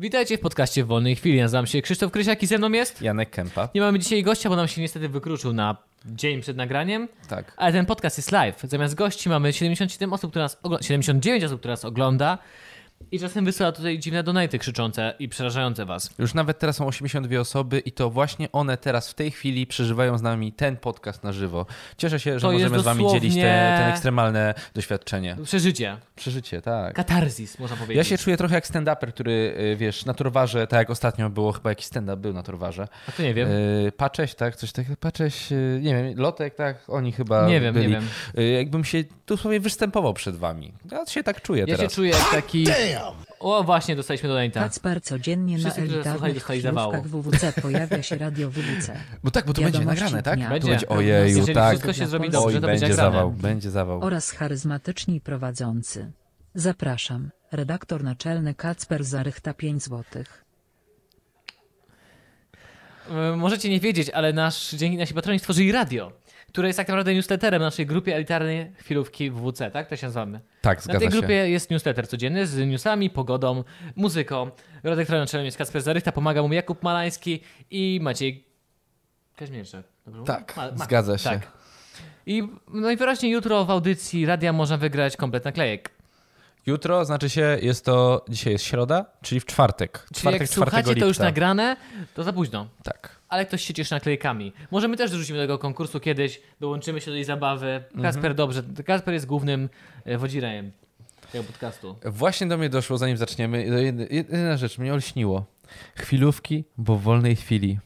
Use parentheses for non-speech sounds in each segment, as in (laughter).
Witajcie w podcaście w wolnej chwili. Nazywam się Krzysztof Krysiak i ze mną jest. Janek Kępa. Nie mamy dzisiaj gościa, bo nam się niestety wykluczył na dzień przed nagraniem. Tak. Ale ten podcast jest live. Zamiast gości mamy 77 osób, które nas ogl- 79 osób, które nas ogląda. I czasem wysyła tutaj dziwne donaty krzyczące i przerażające was. Już nawet teraz są 82 osoby i to właśnie one teraz w tej chwili przeżywają z nami ten podcast na żywo. Cieszę się, że To jest możemy z wami dzielić dosłownie- te, ten ekstremalne doświadczenie. Przeżycie. Przeżycie, tak. Katarzis, można powiedzieć. Ja się czuję trochę jak stand-uper, który, y, wiesz, na torwarze, tak jak ostatnio było, chyba jakiś stand-up był na torwarze. A to nie wiem. Y, Pacześ, tak? Coś takiego. Pacześ, y, nie wiem, Lotek, tak? Oni chyba nie wiem, byli. nie wiem. Y, Jakbym się tu sobie występował przed wami. Ja się tak czuję Ja się teraz. czuję jak taki. O, właśnie, dostaliśmy donata. Kacpar codziennie Tak. Wszyscy, którzy na słuchali, elitarnych dostali zawału. chwilówkach WWC pojawia się (laughs) radio WWC. Bo tak, bo to będzie Wiadomości nagrane, tak? dnia. To Będzie. będzie, ojeju, Jeżeli tak. wszystko się zrobi Oj, dobrze, Oj, to będzie będzie egzamin. zawał, będzie zawał. Oraz charyzmatyczni prowadzący. Zapraszam, redaktor naczelny Kacper Zarychta 5 złotych. Y, Możecie nie wiedzieć, ale nasz, dzięki nasi patroni stworzyli radio, które jest tak naprawdę newsletterem naszej grupie elitarnej chwilówki WWC, tak? To się nazywamy. Tak, Na tej zgadza się. grupie jest newsletter codzienny z newsami, pogodą, muzyką. Redaktorem naczelnym jest Kacper Zarychta, pomaga mu Jakub Malański i Maciej Kaźmierczak. Dobrze Tak, mówię? Ma- Ma- zgadza się. Tak. I najwyraźniej jutro w audycji radia można wygrać komplet naklejek. Jutro, znaczy się, jest to, dzisiaj jest środa, czyli w czwartek. Czyli czwartek, jak 4 słuchacie to lipca. już nagrane, to za późno. Tak. ale ktoś się cieszy naklejkami. Może my też wrzucimy do tego konkursu kiedyś, dołączymy się do tej zabawy. Mhm. Kasper dobrze, Kasper jest głównym e, wodzirejem tego podcastu. Właśnie do mnie doszło, zanim zaczniemy, do jedy- jedyna rzecz, mnie olśniło. Chwilówki, bo w wolnej chwili.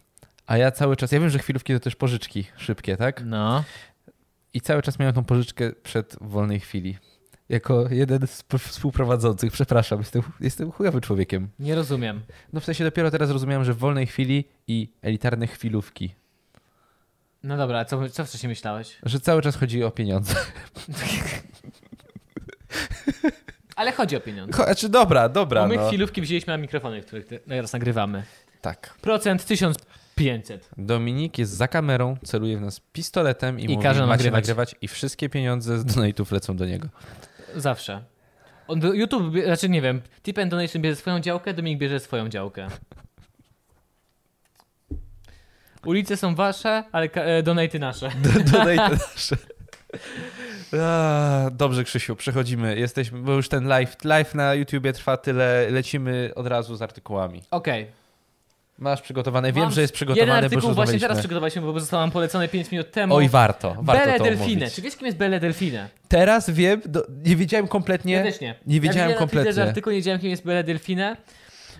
A ja cały czas, ja wiem, że chwilówki to też pożyczki szybkie, tak? No. I cały czas miałem tą pożyczkę przed w wolnej chwili. Jako jeden z p- współprowadzących, przepraszam, jestem, jestem chujowy człowiekiem. Nie rozumiem. No w sensie dopiero teraz rozumiałem, że w wolnej chwili i elitarne chwilówki. No dobra, a co, co wcześniej myślałeś? Że cały czas chodzi o pieniądze. Ale chodzi o pieniądze. Cho- Znaczy dobra, dobra. Bo my no. chwilówki wzięliśmy na mikrofony, których te- teraz nagrywamy. Tak. Procent 1500. Dominik jest za kamerą, celuje w nas pistoletem i, I mówi, każe nam macie nagrywać. nagrywać. i wszystkie pieniądze z donate'ów lecą do (laughs) niego. Zawsze. On, YouTube, bie- znaczy nie wiem, Tip and Donation bierze swoją działkę, Dominik bierze swoją działkę. Ulice są wasze, ale ka- e, donaty nasze. Do, donate nasze. A, Dobrze, Krzysiu, przechodzimy. Jesteśmy, bo już ten live, live na YouTubie trwa tyle. Lecimy od razu z artykułami. Okej. Masz przygotowane? Wiem, Mam że jest Jeden przygotowane, bo artykuł właśnie już teraz rozmawialiśmy. przygotowaliśmy, bo został nam polecony 5 minut temu. Oj, warto. warto Belle to Delfine. omówić. Czy wiesz, kim jest Belle Delfine? Teraz wiem, do, nie wiedziałem kompletnie. Ja też nie. nie ja wiedziałem widziałem Na Twitterze kompletnie. artykuł nie wiedziałem, kim jest Belle Delfine.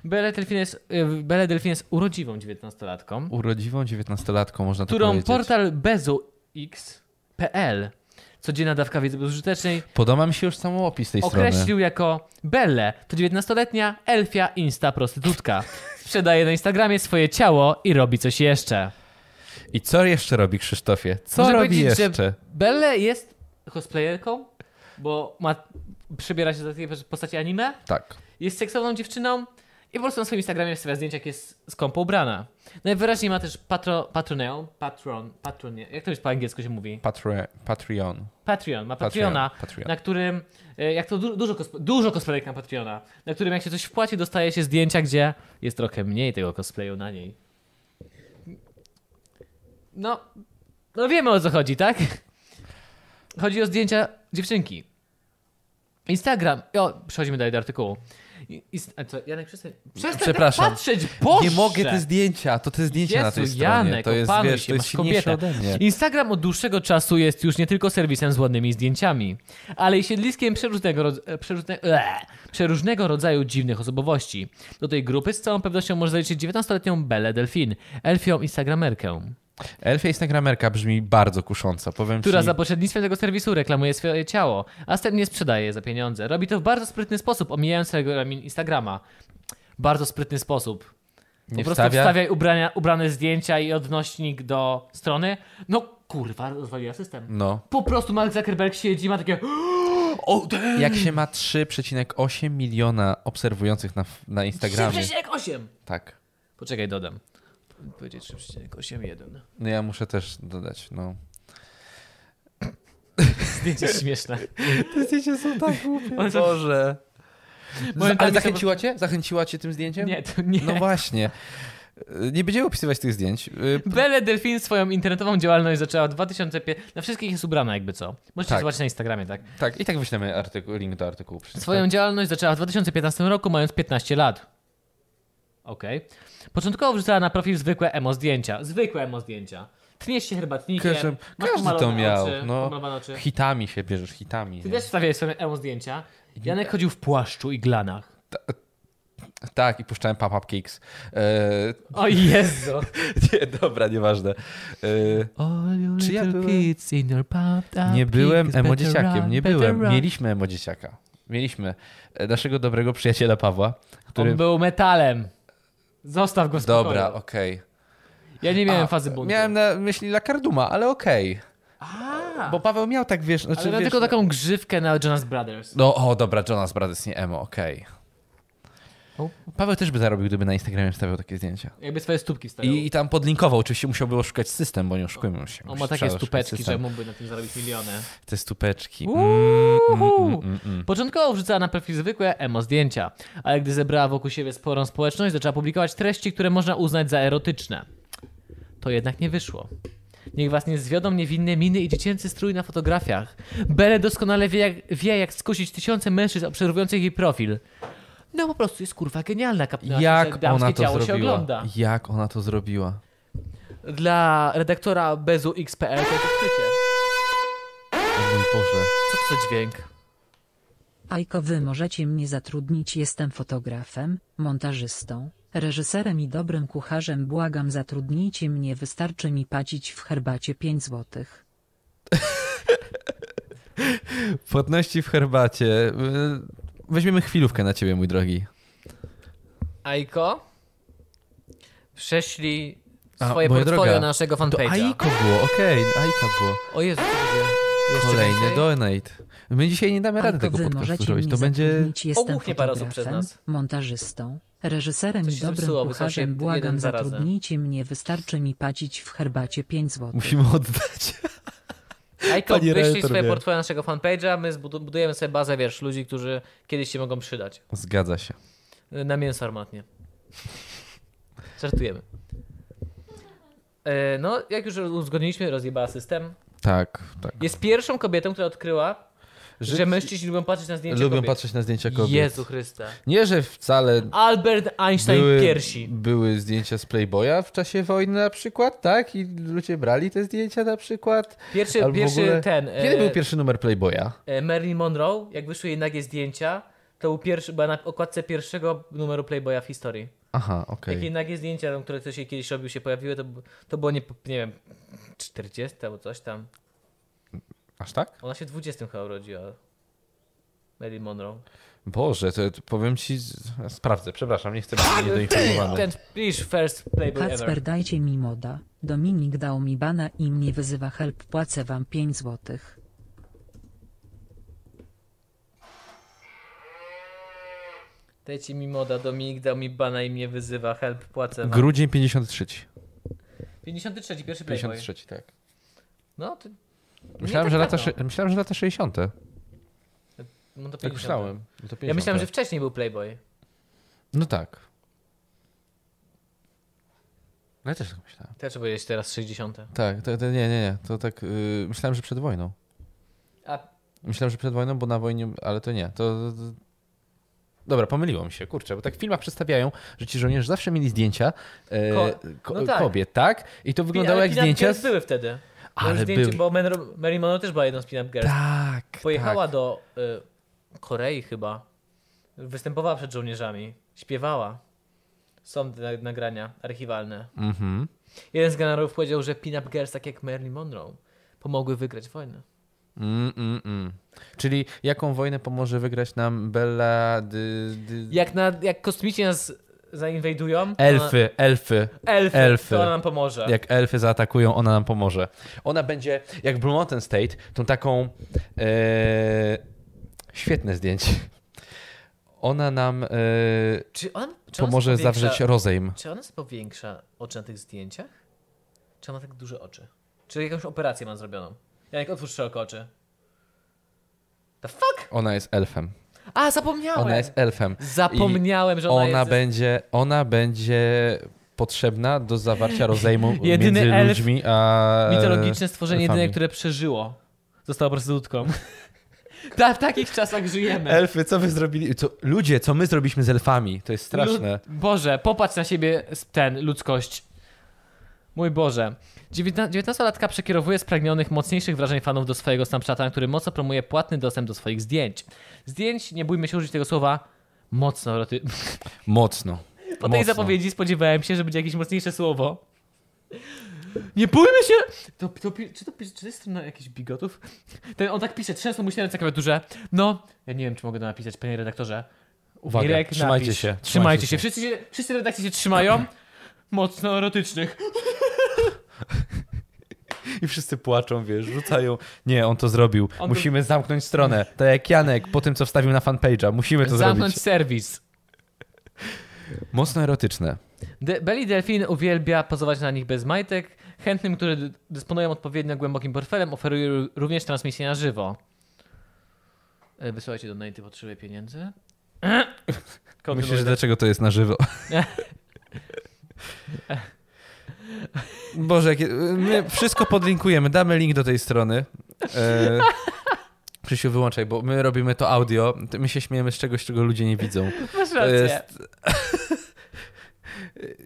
Belle Delfine jest, y, Belle Delfine jest urodziwą 19-latką, Urodziwą 19-latką, można to którą powiedzieć. portal bezuX.pl, codzienna dawka wiedzy bezużytecznej, Podoba mi się już samo opis tej strony. określił jako Belle. To 19-letnia elfia insta prostytutka. Sprzedaje na Instagramie swoje ciało i robi coś jeszcze. I co jeszcze robi Krzysztofie? Co Muszę robi powiedzieć, że- jeszcze? Belle jest cosplayerką, bo ma, przybiera się za takie postacie anime, Tak. jest seksowną dziewczyną i po prostu na swoim Instagramie wstawia zdjęcia, jak jest skąpo ubrana. Najwyraźniej ma też patro, patroneum, patron, patron, jak to już po angielsku się mówi? Patre, Patreon. Patreon, ma Patreon. Patreona, Patreon. na którym, e, jak to du- dużo, kosp- dużo cosplayek ma Patreona, na którym jak się coś wpłaci, dostaje się zdjęcia, gdzie jest trochę mniej tego cosplayu na niej. No, no wiemy o co chodzi, tak? Chodzi o zdjęcia dziewczynki. Instagram. O, przechodzimy dalej do artykułu. I- Inst- a co, Janek, przestań, przestań Przepraszam. Przepraszam. Tak patrzeć, Boże! Nie mogę te zdjęcia, to te zdjęcia na tej Jezu, stronie. Janek, to jest, opanuj wiesz, się, to jest masz silniejsze kobietę. ode mnie. Instagram od dłuższego czasu jest już nie tylko serwisem z ładnymi zdjęciami, ale i siedliskiem przeróżnego, rodz- e, przeróżne, eee, przeróżnego rodzaju dziwnych osobowości. Do tej grupy z całą pewnością może zaliczyć 19-letnią Belle Delfin, elfią instagramerkę, Elfia Instagramerka brzmi bardzo kusząco, powiem która ci. za pośrednictwem tego serwisu reklamuje swoje ciało, a następnie sprzedaje je za pieniądze. Robi to w bardzo sprytny sposób, omijając regulamin Instagrama. Bardzo sprytny sposób. Po nie prostu wstawia. wstawiaj ubrania, ubrane zdjęcia i odnośnik do strony. No kurwa, rozwaliła system. No. Po prostu Mark Zuckerberg siedzi, ma takie. O, damn! Jak się ma 3,8 miliona obserwujących na, na Instagramie. 3,8! Tak. Poczekaj, dodam. Powiedzieć 3,81. No ja muszę też dodać, no. Zdjęcie śmieszne. (laughs) Te zdjęcia są tak głupie. One są- (laughs) Boże. Momentami Ale sobie- zachęciła cię? Zachęciła cię tym zdjęciem? Nie, to nie. No właśnie. Y, Nie będziemy opisywać tych zdjęć. Y, Belle Delfin swoją internetową działalność zaczęła w 2005. Na wszystkich jest ubrana, jakby co. Możecie Tak. zobaczyć na Instagramie, tak? Tak, i tak wyślemy artykuł, link do artykułu. przecież, Swoją tak? działalność zaczęła w 2015 roku, mając 15 lat. Okej. Początkowo wrzucała na profil zwykłe emo zdjęcia. Zwykłe emo zdjęcia. Tniesz się herbatnikiem. Każdy, masz każdy to pomalowane miał. Oczy, no, pomalowane oczy. hitami się bierzesz, hitami. Ty nie? też wstawiałeś sobie emo zdjęcia. Janek chodził w płaszczu i glanach. Tak, i puszczałem pop-up kicks. E, (laughs) O Jezu! nie, dobra, nieważne. E, All your Czy ja little byłem- kids in your pumped up nie byłem kicks, better emodzieciakiem, run, nie better byłem. run. Mieliśmy emodzieciaka. Mieliśmy e, naszego dobrego przyjaciela Pawła, który... On był metalem. Zostaw go w spokoju. Dobra, okej. Ja nie miałem A, fazy buntu. Miałem na myśli Lakarduma, ale okej. A, Bo Paweł miał tak, wiesz... Znaczy, ale miał wiesz tylko taką grzywkę na Jonas Brothers. No, o, dobra, Jonas Brothers, nie emo, okej. O. Paweł też by zarobił, gdyby na Instagramie wstawiał takie zdjęcia. Jakby swoje stópki stawiał. I, I tam podlinkował, oczywiście musiałby oszukać system, bo nie oszukujmy się. On ma takie Trzeba oszukać stupeczki, system. że mógłby na tym zarobić miliony. Te stupeczki. Uhu. mm, mm. Początkowo wrzucała na profil zwykłe emo zdjęcia, ale gdy zebrała wokół siebie sporą społeczność, zaczęła publikować treści, które można uznać za erotyczne. To jednak nie wyszło. Niech was nie zwiodą niewinne miny i dziecięcy strój na fotografiach. Belle doskonale wie jak, wie, jak skusić tysiące mężczyzn obserwujących jej profil. No po prostu jest kurwa genialna kapnęła, Jak że ona damskie to ciało się zrobiła? ogląda. Jak ona to zrobiła? Dla redaktora Bezu XPL to jest odkrycie. O mój Boże. Co to za dźwięk? Ajko wy możecie mnie zatrudnić jestem fotografem, montażystą, reżyserem i dobrym kucharzem błagam zatrudnijcie mnie wystarczy mi płacić w herbacie 5 złotych. Płatności w herbacie. Y, Weźmiemy chwilówkę na ciebie, mój drogi. Aiko, prześlij A, swoje moja portfolio droga, naszego To fanpage'a. Aiko było, okej, Aiko było. O Jezu, co to będzie? Jeszcze Kolejny więcej? donate. My dzisiaj nie damy rady Alko tego wy podcastu możecie zrobić. mnie To będzie... zatrudnić jestem Obuchnie parę osób przez fotografem, nas. montażystą, reżyserem To i się dobrym zepsuło, bo są się kucharzem jeden błagam za razem. zatrudnijcie mnie wystarczy mi płacić w herbacie 5 złotych. Musimy oddać. (laughs) Aiko, Pani wyślij redaktor swoje wie. portfolio naszego fanpage'a, my zbudu- budujemy sobie bazę, wiesz, ludzi, którzy kiedyś się mogą przydać. Zgadza się. Y, Na mięso armatnie. Żartujemy. Y, No, jak już uzgodniliśmy, rozjebała system. Tak, tak. Jest pierwszą kobietą, która odkryła, że, mężczyźni lubią patrzeć na zdjęcia Lubią kobiet. patrzeć na zdjęcia kobiet. Jezu Chryste. Nie, że wcale Albert Einstein były, piersi. były zdjęcia z Playboya w czasie wojny na przykład, tak? I ludzie brali te zdjęcia na przykład. Pierwszy, Albo w pierwszy ogóle- ten. e, Kiedy był pierwszy numer Playboya? e, Marilyn Monroe, jak wyszły jej nagie zdjęcia, to był pierwszy, była na okładce pierwszego numeru Playboya w historii. Aha, okej. Jakie nagie zdjęcia, tam, które ktoś jej kiedyś robił, się pojawiły, to, b- to było nie, nie wiem, 40 albo coś tam. Aż tak? Ona się w 20 chyba urodziła. Marilyn Monroe. Boże, to, to powiem ci... z- Sprawdzę, przepraszam, nie chcę być niedoinformowany. Ten please first Playboy ever. Kacper dajcie mi moda, Dominik dał mi bana i mnie wyzywa help płacę wam 5 złotych. Dajcie mi moda, Dominik dał mi bana i mnie wyzywa, help, płacę wam. Grudzień 53. 53, pierwszy Playboy. 53, tak. No, to... nie Myślałem, tak że lata, dawno. sze- myślałem, że lata 60. No to 50. Tak myślałem. No to Ja myślałem, 50. że wcześniej był Playboy. No tak. No ja też tak myślałem. Też powiedzieć teraz 60. Tak, to, to nie, nie, nie. To tak yy, myślałem, że przed wojną. A Myślałem, że przed wojną, bo na wojnie, ale to nie. To, to, to... Dobra, pomyliło mi się, kurczę, bo tak w filmach przedstawiają, że ci żołnierze zawsze mieli zdjęcia e, Ko- ko- no tak. kobiet, tak? I to wyglądało Ale jak pin-up zdjęcia. girls Z... były wtedy. Ale Ale zdjęcie, były. Bo Men- Mary Monroe też była jedną z pin-up girls. Tak. Pojechała tak. do y, Korei chyba. Występowała przed żołnierzami. Śpiewała. Są te nagrania archiwalne. Mhm. Jeden z generałów powiedział, że pin-up girls, tak jak Marilyn Monroe, pomogły wygrać wojnę. Mm, mm, mm. Czyli jaką wojnę pomoże wygrać nam Bella. Dy, dy... Jak, na, jak kosmici nas zainwajdują, Elfy, elfy. ona, elfy, elfy. to ona nam pomoże. Jak elfy zaatakują, ona nam pomoże. Ona będzie jak Blue Mountain State, tą taką. E, świetne zdjęcie. Ona nam e, Czy on, czy on pomoże powiększa- zawrzeć rozejm. Czy ona sobie powiększa oczy na tych zdjęciach? Czy ona tak duże oczy? Czy jakąś operację ma zrobioną? Janek, otwórz szeroko oczy. The fuck? Ona jest elfem. A, zapomniałem. Ona jest elfem. Zapomniałem, że Ona, ona, jest... będzie, ona będzie potrzebna do zawarcia rozejmu (laughs) Jedyny między elf ludźmi a Mitologiczne stworzenie jedyne, elfami. które przeżyło. Zostało prostytutką. (laughs) Ta, w takich czasach żyjemy. Elfy, co wy zrobili? Co, ludzie, co my zrobiliśmy z elfami? To jest straszne. Lud- Boże, popatrz na siebie z- ten, ludzkość. Mój Boże. 19-latka przekierowuje spragnionych, mocniejszych wrażeń fanów do swojego Snapchata, który mocno promuje płatny dostęp do swoich zdjęć. Zdjęć, nie bójmy się użyć tego słowa, mocno eroty... Mocno. Po tej Mocno. zapowiedzi spodziewałem się, że będzie jakieś mocniejsze słowo. Nie bójmy się! To, to, pi- czy, to, pi- czy to jest strona jakichś bigotów? Ten, on tak pisze, trzęsą mu się ręce klawiaturze. No, ja nie wiem, czy mogę to napisać, panie redaktorze. Uwaga, Mirek, trzymajcie napisz. się, Trzymajcie, trzymajcie się. Wszyscy, się, wszyscy redakcje się trzymają. Mocno erotycznych. I wszyscy płaczą, wiesz, rzucają. Nie, on to zrobił. On to- Musimy zamknąć stronę. Tak jak Janek po tym, co wstawił na fanpage'a. Musimy to Zamknąć zrobić. serwis. Mostno erotyczne. De- Belly Delfin uwielbia pozować na nich bez majtek. Chętnym, którzy dy- dysponują odpowiednio głębokim portfelem, oferuje ró- również transmisję na żywo. E, Wysyłajcie do Naty, potrzebuję pieniędzy. (clears throat) Myślę, że Kontynuuję. dlaczego to jest na (laughs) żywo. Boże, jakie, my wszystko podlinkujemy. Damy link do tej strony. E... Krzysiu, wyłączaj, bo my robimy to audio. Ty- My się śmiejemy z czegoś, czego ludzie nie widzą. Masz To rację.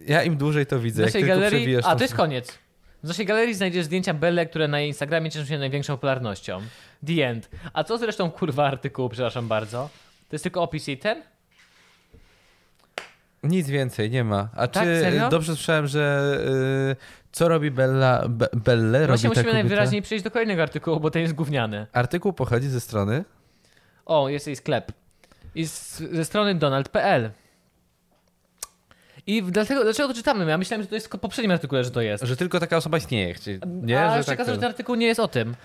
ja im dłużej to W widzę, jak naszej tylko galerii... przewijasz A, tą- to jest koniec. W naszej galerii znajdziesz zdjęcia Belle, które na jej Instagramie cieszą się największą popularnością. The end. A co zresztą, kurwa, artykułu, przepraszam bardzo. To jest tylko opis jej ten? Nic więcej, nie ma. A Tak? czy y, Serio? dobrze słyszałem, że y, co robi Bella, Be, Belle robi Właśnie ta musimy kobieta? najwyraźniej przejść do kolejnego artykułu, bo ten jest gówniany. Artykuł pochodzi ze strony O, jest jej sklep. I z, ze strony donald.pl. I w- dlatego, dlaczego to czytamy? Ja myślałem, że to jest tylko w poprzednim artykule, że to jest. że tylko taka osoba istnieje. Chci... Nie, A że jeszcze tak okazało, że ten artykuł nie jest o tym.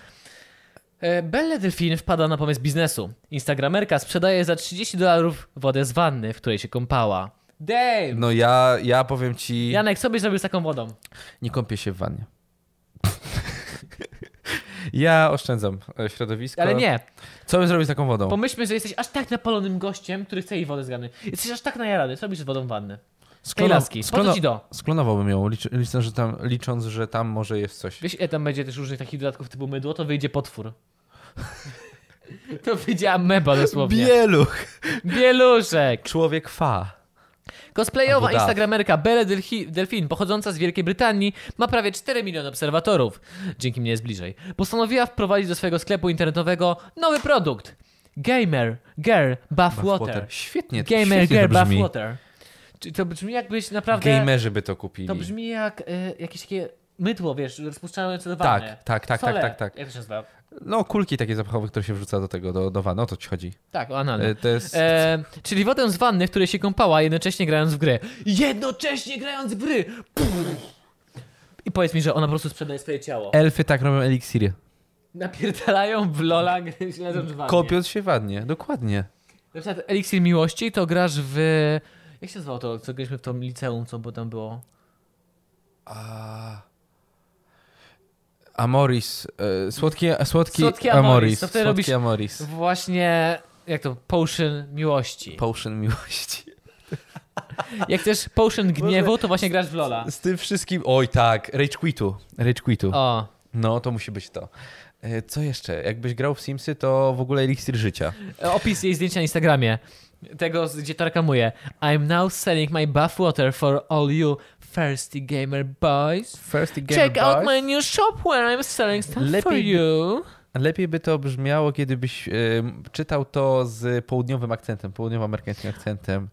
E, Belle Delfin wpada na pomysł biznesu. Instagramerka sprzedaje za 30 dolarów wodę z wanny, w której się kąpała. Damn! No ja, ja powiem ci, Janek, co byś zrobił z taką wodą? nie kąpię się w wannie. (laughs) ja oszczędzam e, środowisko. Ale nie, Co bym zrobił z taką wodą? pomyślmy, że jesteś aż tak napalonym gościem, który chce jej wodę z wanny. Jesteś aż tak najarany, co robisz z wodą w wanny? Tej Sklono- laski, po co sklono- ci do? Sklonowałbym ją, liczy, licząc, że tam, licząc, że tam może jest coś. Wiesz, ile tam będzie też różnych takich dodatków typu mydło, to wyjdzie potwór. (laughs) To wyjdzie ameba dosłownie. Bieluch! Bieluszek! Człowiek fa. Cosplayowa Albo Duff. instagramerka Belle Delhi- Delfin, pochodząca z Wielkiej Brytanii, ma prawie 4 miliony obserwatorów. Dzięki mnie jest bliżej. Postanowiła wprowadzić do swojego sklepu internetowego nowy produkt. Gamer Girl Bath Water. Świetnie, Gamer świetnie Girl to Bath brzmi. Water. Czy to brzmi jakbyś naprawdę... Gamerzy by to kupili. To brzmi jak y, jakieś takie mydło, wiesz, rozpuszczalne do Tak, wanny. tak, tak, Sole. tak, tak, tak. Jak to się nazywa? No, kulki takie zapachowe, które się wrzuca do tego, do, do wanny. O to ci chodzi. Tak, o analne. E, To jest... E, czyli wodę z wanny, w której się kąpała, jednocześnie grając w gry. Jednocześnie grając w gry! Pff. I powiedz mi, że ona po prostu sprzedaje swoje ciało. Elfy tak robią eliksiry. Napierdalają w lola, gry śledząc wannie. Kopiąc się wannie, dokładnie. Na przykład eliksir miłości to grasz w... Jak się nazywało to, co graliśmy w tym liceum, co bo tam było? A... Amoris. E, słodki, słodki, Słodki Amoris. Amoris. To wtedy Słodki robisz- Amoris. Właśnie... Jak to? Potion miłości. Potion miłości. Jak też potion gniewu, to właśnie grasz w lola. Z tym wszystkim... Oj tak, Rage Quitu. Rage Quitu. O. No, to musi być to. E, Co jeszcze? Jakbyś grał w Simsy, to w ogóle eliksir życia. Opis jej zdjęcia na Instagramie. Tego, z- gdzie to reklamuje. I'm now selling my bathwater for all you thirsty gamer boys. First Check out my new shop where I'm selling stuff for Lepiej- you. Lepiej by to brzmiało, kiedybyś em, czytał to z południowym akcentem, południowoamerykańskim akcentem.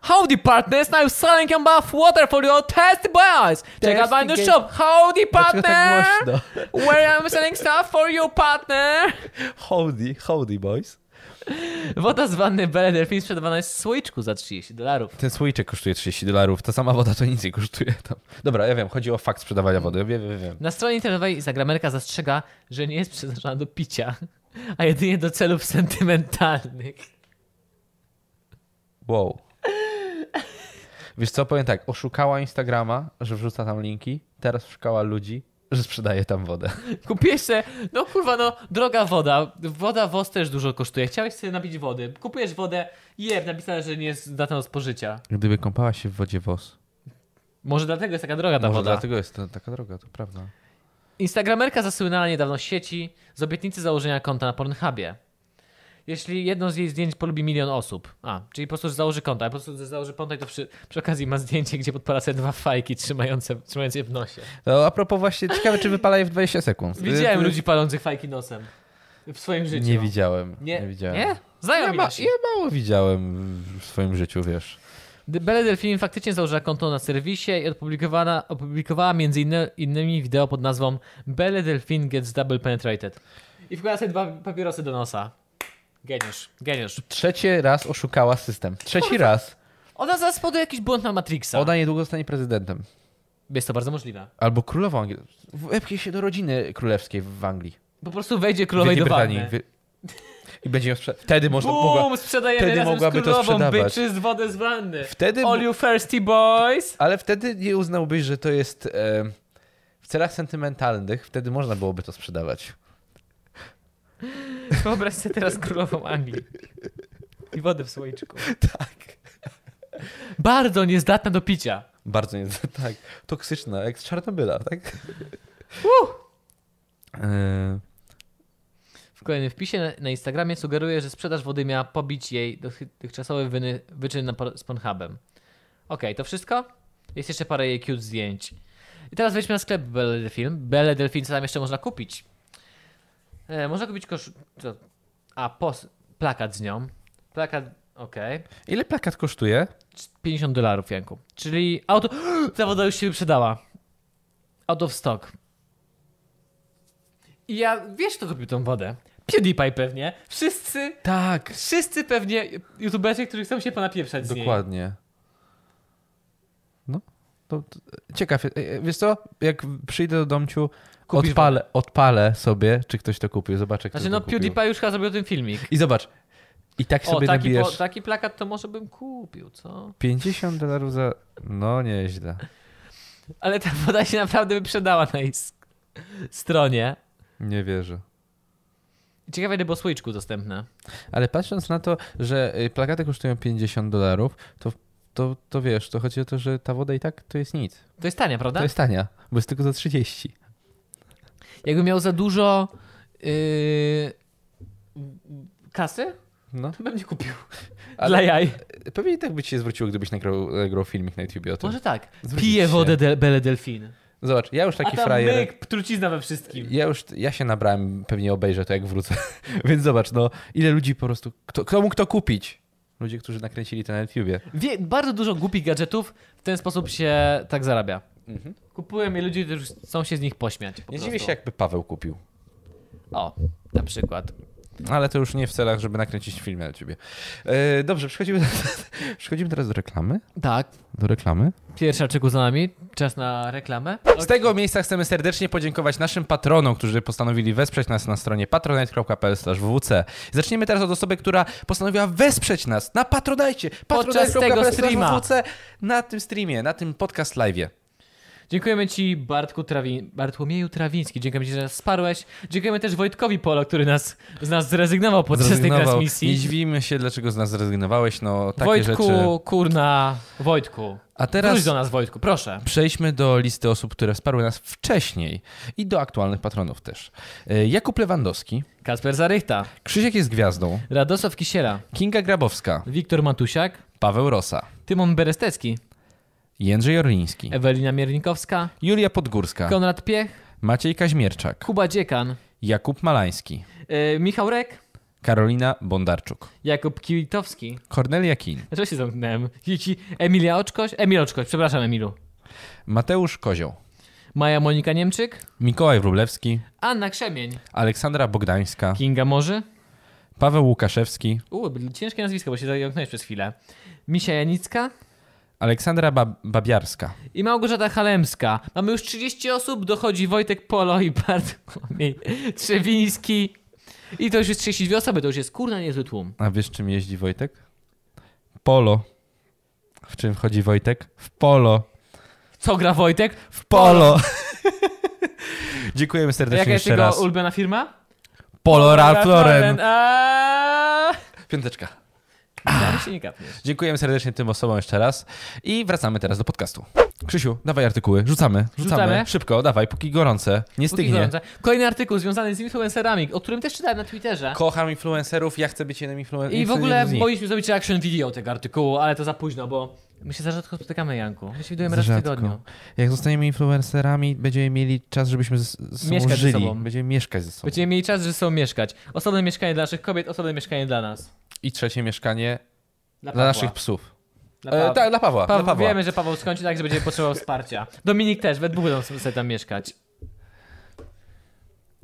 Howdy partners, I'm selling your bathwater for your thirsty boys. Check out my Thirsty new ga- shop. Howdy Dlaczego partner, tak głośno? where I'm selling stuff for you partner. Howdy, howdy boys. Woda z wanny Belle Delphine sprzedawana jest w słoiczku za 30 dolarów. Ten słoiczek kosztuje 30 dolarów, ta sama woda to nic nie kosztuje. Tam. Dobra, ja wiem, chodzi o fakt sprzedawania wody, wiem, wiem, wiem. Na stronie internetowej Instagramerka zastrzega, że nie jest przeznaczona do picia, a jedynie do celów sentymentalnych. Wow. Wiesz co, powiem tak, oszukała Instagrama, że wrzuca tam linki, teraz oszukała ludzi, że sprzedaję tam wodę. Kupiłeś se, no kurwa, no droga woda. Woda WOS też dużo kosztuje. Chciałeś sobie napić wody. Kupujesz wodę, jeb, napisane, że nie jest zdatna do spożycia. Gdyby kąpała się w wodzie wos. Może dlatego jest taka droga ta Może woda. dlatego jest to, taka droga, to prawda. Instagramerka zasłynęła niedawno z sieci z obietnicy założenia konta na Pornhubie. Jeśli jedno z jej zdjęć polubi milion osób. A, czyli po prostu że założy konto, a po prostu że założy konto i to przy, przy okazji ma zdjęcie, gdzie podpala sobie dwa fajki trzymające, trzymające je w nosie. No, a propos właśnie, ciekawe czy wypala je w 20 sekund. Widziałem Y, y, ludzi palących fajki nosem. W swoim życiu. Nie widziałem. Nie, Nie, widziałem. Nie? Ja, Znajomi ma, nasi. ja mało widziałem w swoim życiu, wiesz. Belle Delfin faktycznie założyła konto na serwisie i opublikowana, opublikowała między inny, innymi wideo pod nazwą Belle Delfin gets double penetrated. I wkłada sobie dwa papierosy do nosa. Geniusz, geniusz. Trzeci raz oszukała system. Trzeci raz. Ona zaraz poduje jakiś błąd na Matrixa. Ona niedługo zostanie prezydentem. Jest to bardzo możliwe. Albo królową Anglii. Wepchnie się do rodziny królewskiej w Anglii. Po prostu wejdzie W królowej Wielkiej do Brytanii. wanny. Wy- I będzie ją sprze- Wtedy można... Mogła... Bum, sprzedajemy wtedy razem mogłaby z to królową sprzedawać. byczy z wodę z wanny. Wtedy... All you thirsty boys. Ale wtedy nie uznałbyś, że to jest... E... W celach sentymentalnych wtedy można byłoby to sprzedawać. Wyobraź sobie teraz królową Anglii. I wodę w słoiczku. (laughs) Tak. Bardzo niezdatna do picia. Bardzo nie... (laughs) Tak. Toksyczna, jak z Czarnobyla, tak? E... W kolejnym wpisie na, na Instagramie sugeruje, że sprzedaż wody miała pobić jej dotychczasowy wyny, wyczyn na, por- z Pornhubem. Okej, to wszystko? Jest jeszcze parę jej cute zdjęć. I teraz wejdźmy na sklep Belle Delfin. Belle Delfin, co tam jeszcze można kupić? E, można kupić kosz... Co? A, pos... plakat z nią. Plakat, okej. Ile plakat kosztuje? Cz- 50 dolarów, Janku. Czyli auto... (gasps) Ta woda już się wyprzedała. Out of stock. I ja... Wiesz, kto kupił tą wodę? PewDiePie pewnie. Wszyscy... Tak. Wszyscy pewnie youtuberzy, którzy chcą się ponapieprzać z niej. Dokładnie. No. To, to, ciekaw. e, e, Wiesz co? Jak przyjdę do domciu, Kupisz odpalę, odpalę sobie, czy ktoś to kupił. Zobaczę, kto Znaczy to no kupił. PewDiePie już chyba zrobił ten filmik. I zobacz. I tak O, sobie taki, po, nabijesz taki plakat to może bym kupił, co? 50 dolarów za... No nieźle. Ale ta woda się naprawdę wyprzedała na jej sk- stronie. Nie wierzę. Ciekawe, ile było słoiczku dostępne. Ale patrząc na to, że y, plakaty kosztują 50 dolarów, to, to, to wiesz, to chodzi o to, że ta woda i tak to jest nic. To jest tania, prawda? To jest tania, bo jest tylko za 30. Jakby miał za dużo yy, kasy, No. to bym nie kupił. Ale- Dla jaj. Pewnie i tak by ci się zwróciło, gdybyś nagrał, nagrał filmik na YouTubie o tym. Może tak. Zwrócić Pije się. wodę de Belle Delfin. Zobacz, ja już A taki tam frajer. myk, trucizna we wszystkim. Ja już ja się nabrałem, pewnie obejrzę to jak wrócę. (laughs) Więc zobacz, no ile ludzi po prostu. Kto, kto mógł to kupić? Ludzie, którzy nakręcili to na YouTubie. Wie, bardzo dużo głupich gadżetów w ten sposób się tak zarabia. Kupują je ludzie, którzy chcą się z nich pośmiać. Po Mhm. Nie prostu. dziwię się, jakby Paweł kupił. O, na przykład. Ale to już nie w celach, żeby nakręcić film na YouTubie. E, dobrze, przechodzimy, (laughs) przechodzimy teraz do reklamy. Tak. Do reklamy. Pierwsza czeku za nami. Czas na reklamę. Z tego miejsca chcemy serdecznie podziękować naszym patronom, którzy postanowili wesprzeć nas na stronie patronite.pl/wc. Zaczniemy teraz od osoby, która postanowiła wesprzeć nas na Patronite. Podczas tego streama. patronite.pl/wc na tym streamie, na tym podcast live'ie. Dziękujemy Ci Bartku Trawi... Bartłomieju Trawiński. Dziękujemy Ci, że nas wsparłeś. Dziękujemy też Wojtkowi Polo, który nas, z nas zrezygnował podczas tej Zrezygnował. Nie transmisji. dziwimy się, dlaczego z nas zrezygnowałeś, no takie Wojtku, rzeczy. kurna, Wojtku. A Teraz... Wróć teraz do nas, Wojtku, proszę. przejdźmy do listy osób, które wsparły nas wcześniej i do aktualnych patronów też. E, Jakub Lewandowski, Kasper Zarychta, Krzysiek jest gwiazdą, Radosław Kisiela, Kinga Grabowska, Wiktor Matusiak, Paweł Rosa, Tymon Berestecki, Jędrzej Orliński, Ewelina Miernikowska, Julia Podgórska, Konrad Piech, Maciej Kaźmierczak, Kuba Dziekan, Jakub Malański, e, Michał Rek, Karolina Bondarczuk, Jakub Kiwitowski. Kornelia Kin, Dlaczego się zamknąłem? Dzieci Emilia Oczkoś? Emil Oczkoś, przepraszam Emilu. Mateusz Kozioł, Maja Monika Niemczyk, Mikołaj Wróblewski, Anna Krzemień, Aleksandra Bogdańska, Kinga Morzy. Paweł Łukaszewski, U, byli ciężkie nazwiska, bo się zająknąłeś przez chwilę. Misia Janicka Aleksandra Bab- Babiarska. i Małgorzata Halemska. Mamy już 30 osób, dochodzi Wojtek Polo i Bartłomiej Trzewiński. I to już jest 32 osoby, to już jest kurna niezły tłum. A wiesz, czym jeździ Wojtek? Polo. W czym chodzi Wojtek? W polo. (laughs) Co gra Wojtek? W polo. Dziękujemy Jaka serdecznie jest jeszcze jego raz. ulubiona firma? Polo Ralph Lauren. Aaaa! Piąteczka. Prawie się nie kapniesz. Dziękujemy serdecznie tym osobom jeszcze raz i wracamy teraz do podcastu. Krzysiu, dawaj artykuły, rzucamy, rzucamy, Rzucamy? szybko, dawaj, póki gorące, Póki nie stygnie. gorące. Kolejny artykuł związany z influencerami, o którym też czytałem na Twitterze. Kocham influencerów, ja chcę być jednym influencerem. I w ogóle powinniśmy zrobić reaction video tego artykułu, ale to za późno, bo my się za rzadko spotykamy, Janku. My się widujemy raz w tygodniu. Jak zostaniemy influencerami, będziemy mieli czas, żebyśmy z, z sobą Mieszkać ze żyli. sobą. Będziemy mieszkać ze sobą. Będziemy mieli czas, że są mieszkać. Osobne mieszkanie dla naszych kobiet, osobne mieszkanie dla nas. I trzecie mieszkanie Dla, dla Pawła. naszych psów. Dla E, Pawła. tak, dla Pawła. Paweł, dla Pawła. Wiemy, że Paweł skończy tak, że będzie potrzebował wsparcia. Dominik też, we dwóch będą sobie tam mieszkać.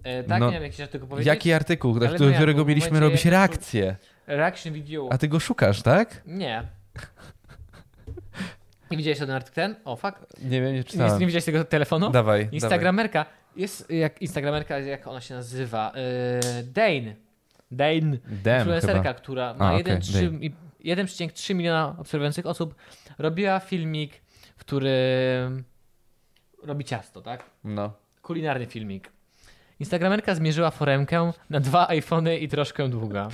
E, tak, No. nie wiem, jakiś artykuł powiedzieć. Jaki artykuł, dla Ale którego no jak, bo w mieliśmy momencie- robić reakcję? Reaction video. A ty go szukasz, tak? Nie. Nie widziałeś ten artykuł ten? O, fuck. Nie wiem, nie Nie, czytałem. nie widziałeś tego telefonu? Dawaj, Instagramerka. Jest jak Instagramerka, jak ona się nazywa? E, Dane. Dane. dawaj. Dem influencerka, chyba. która A, ma okej, jeden trzy- Dane. i- 1,3 miliona obserwujących osób, robiła filmik, w którym robi ciasto, tak? No. Kulinarny filmik. Instagramerka zmierzyła foremkę na dwa iPhony i troszkę długa.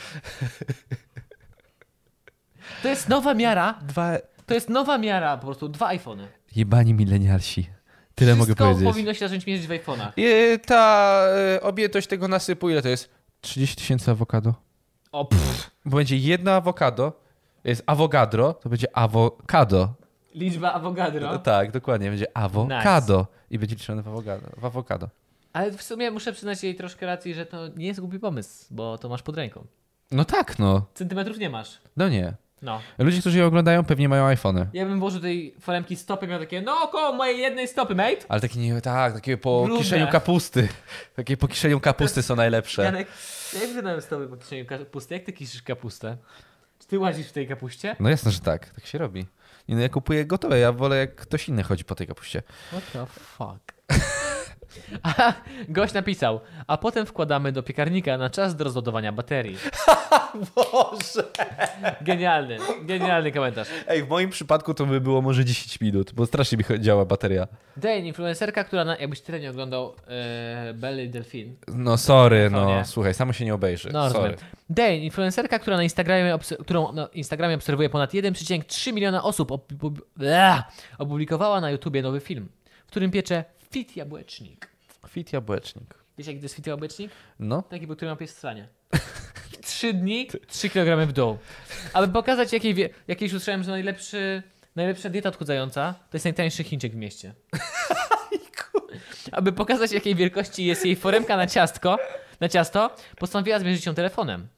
To jest nowa miara. Dwa To jest nowa miara, po prostu dwa iPhony. jebani milenialsi. Tyle mogę Wszystko powiedzieć. powinno się zacząć mierzyć w iPhonach. I ta y, objętość tego nasypu, ile to jest? 30 tysięcy awokado. O, pff, Bo będzie jedno awokado, jest awogadro, to będzie awokado. liczba awogadro. Tak, dokładnie, będzie awokado. I będzie liczone w awokado. W awokado. Ale w sumie muszę przyznać jej troszkę racji, że to nie jest głupi pomysł, bo to masz pod ręką. No tak, no. Centymetrów nie masz. No nie. No. Ludzie, którzy je oglądają, pewnie mają iPhony. Ja bym włożył tej foremki stopy, miał takie, no około mojej jednej stopy, mate. Ale takie nie, tak, takie po Brudne. kiszeniu kapusty. (laughs) Takie po kiszeniu kapusty są najlepsze. Janek, ja bym wydałem stopy po kieszeni kapusty. Jak ty kiszysz kapustę? Czy ty łazisz w tej kapuście? No jasne, że tak. Tak się robi. Nie, no ja kupuję gotowe, ja wolę jak ktoś inny chodzi po tej kapuście. What the fuck? (laughs) A, gość napisał, a potem wkładamy do piekarnika na czas do rozładowania baterii. Boże! Genialny, genialny komentarz. Ej, w moim przypadku to by było może 10 minut, bo strasznie mi cho- działa bateria. Dane, influencerka, która, na, jakbyś tyle nie oglądał e, Belly Delfin, No sorry, no Telefonie. słuchaj, samo się nie obejrzy. No, sorry. rozumiem. Dane, influencerka, która na Instagramie obs- którą na Instagramie obserwuje ponad 1,3 miliona osób, op- pub- Ea! opublikowała na YouTubie nowy film, w którym piecze fit jabłecznik. Fit jabłecznik. Wiesz, jaki to jest fit jabłecznik? No. Taki, po którym ma pies w sranie. Trzy dni, 3 kg w dół. Aby pokazać, jakiej, wie- jakiejś usłyszałem, że najlepszy, najlepsza dieta odchudzająca to jest najtańszy Chińczyk w mieście. Aby pokazać, jakiej wielkości jest jej foremka na ciastko, na ciasto, postanowiła zmierzyć ją telefonem.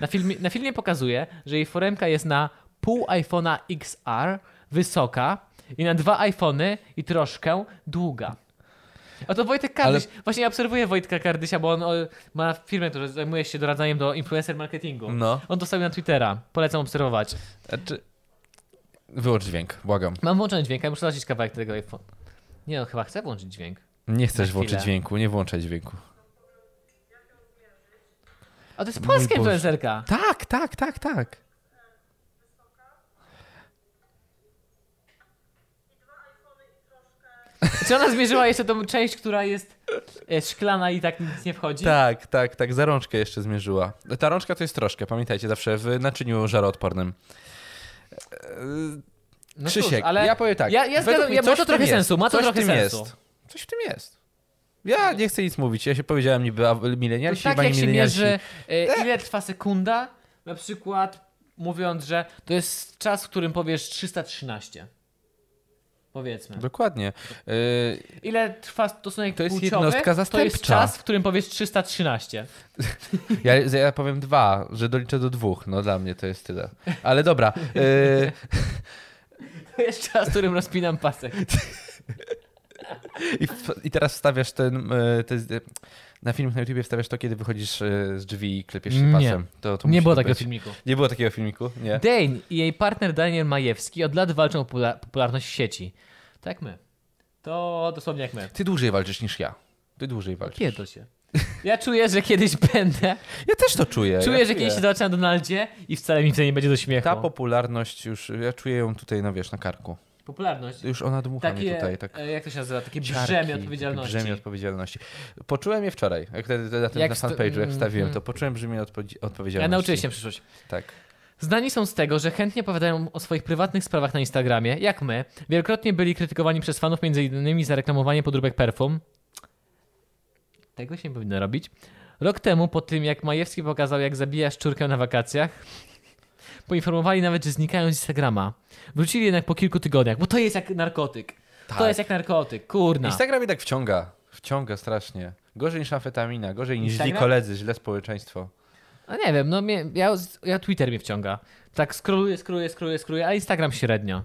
Na filmie, na filmie pokazuje, że jej foremka jest na pół iPhone'a XR wysoka i na dwa iPhony i troszkę długa. A to Wojtek Kardyś. Właśnie ja obserwuję Wojtka Kardysia, bo on o, ma firmę, która zajmuje się doradzaniem do influencer marketingu. No. On dostał na Twittera. Polecam obserwować. Znaczy... Wyłącz dźwięk, błagam. Mam włączony dźwięk, ja muszę zobaczyć kawałek tego iPhone. Nie no, chyba chcę włączyć dźwięk. Nie chcesz Na włączyć chwilę. dźwięku, nie włączaj dźwięku. A to jest Mój polska No Boże. influencerka. Tak, tak, tak, tak. Czy ona zmierzyła jeszcze tą część, która jest e, szklana i tak nic nie wchodzi? Tak, tak, tak, za rączkę jeszcze zmierzyła. Ta rączka to jest troszkę, pamiętajcie, zawsze w naczyniu żaroodpornym. No cóż, Krzysiek, ja powiem tak. Ja, ja według zgadzam, mnie ja, ma coś to w tym trochę sensu, ma to coś w trochę tym sensu. Jest. Coś w tym jest. Ja nie chcę nic mówić, ja się powiedziałem niby a- milenialsi, tak pani jak się milenialsi. mierzy, e, ile trwa sekunda, na przykład mówiąc, że to jest czas, w którym powiesz 313. Powiedzmy. Dokładnie. Yy, Ile trwa stosunek To jest płciowy, jednostka to jest zastępcza. czas, w którym powiesz 313. Ja, ja powiem dwa, że doliczę do dwóch. No dla mnie to jest tyle. Ale dobra. Yy, To jest czas, w którym rozpinam pasek. i, w- I teraz wstawiasz ten. Yy, te, z- na film na YouTubie wstawiasz to, kiedy wychodzisz yy, z drzwi i klepiesz się Nie. pasem. (laughs) To, to Nie musi było tu takiego być. filmiku. Nie było takiego filmiku? Nie. Dane i jej partner Daniel Majewski od lat walczą o popula- popularność w sieci. Tak jak my. To dosłownie jak my. Ty dłużej walczysz niż ja. Ty dłużej walczysz. Kiedy to się? Ja czuję, że kiedyś będę. Ja też to czuję. Czuję, ja że kiedyś się zobaczę na Donaldzie i wcale mi to nie będzie do śmiechu. Ta popularność już, ja czuję ją tutaj, no wiesz, na karku. Popularność. Już ona dmucha Takie, mnie tutaj. Tak. e, jak to się nazywa, takie Ciarki, brzemię takie odpowiedzialności. Brzemię odpowiedzialności. Poczułem je wczoraj, jak wtedy na, tym, Jak na sto- fanpage'u, jak mm, stawiłem mm. to, poczułem brzemię odpowiedzi- odpowiedzialności. Ja nauczyłem się przyszłość. Tak. Znani są z tego, że chętnie opowiadają o swoich prywatnych sprawach na Instagramie, jak my. Wielokrotnie byli krytykowani przez fanów m.in. za reklamowanie podróbek perfum. Tego się nie powinno robić. Rok temu, po tym jak Majewski pokazał, jak zabija szczurkę na wakacjach, poinformowali nawet, że znikają z Instagrama. Wrócili jednak po kilku tygodniach, bo to jest jak narkotyk. To Tak. jest jak narkotyk, kurna. Instagram i tak wciąga. Wciąga strasznie. Gorzej niż amfetamina, gorzej niż źli Instagram? koledzy, źle społeczeństwo. No nie wiem, no mnie, ja, ja Twitter mnie wciąga. Tak skróluję, skróluję, skróluję, skróluję, a Instagram średnio.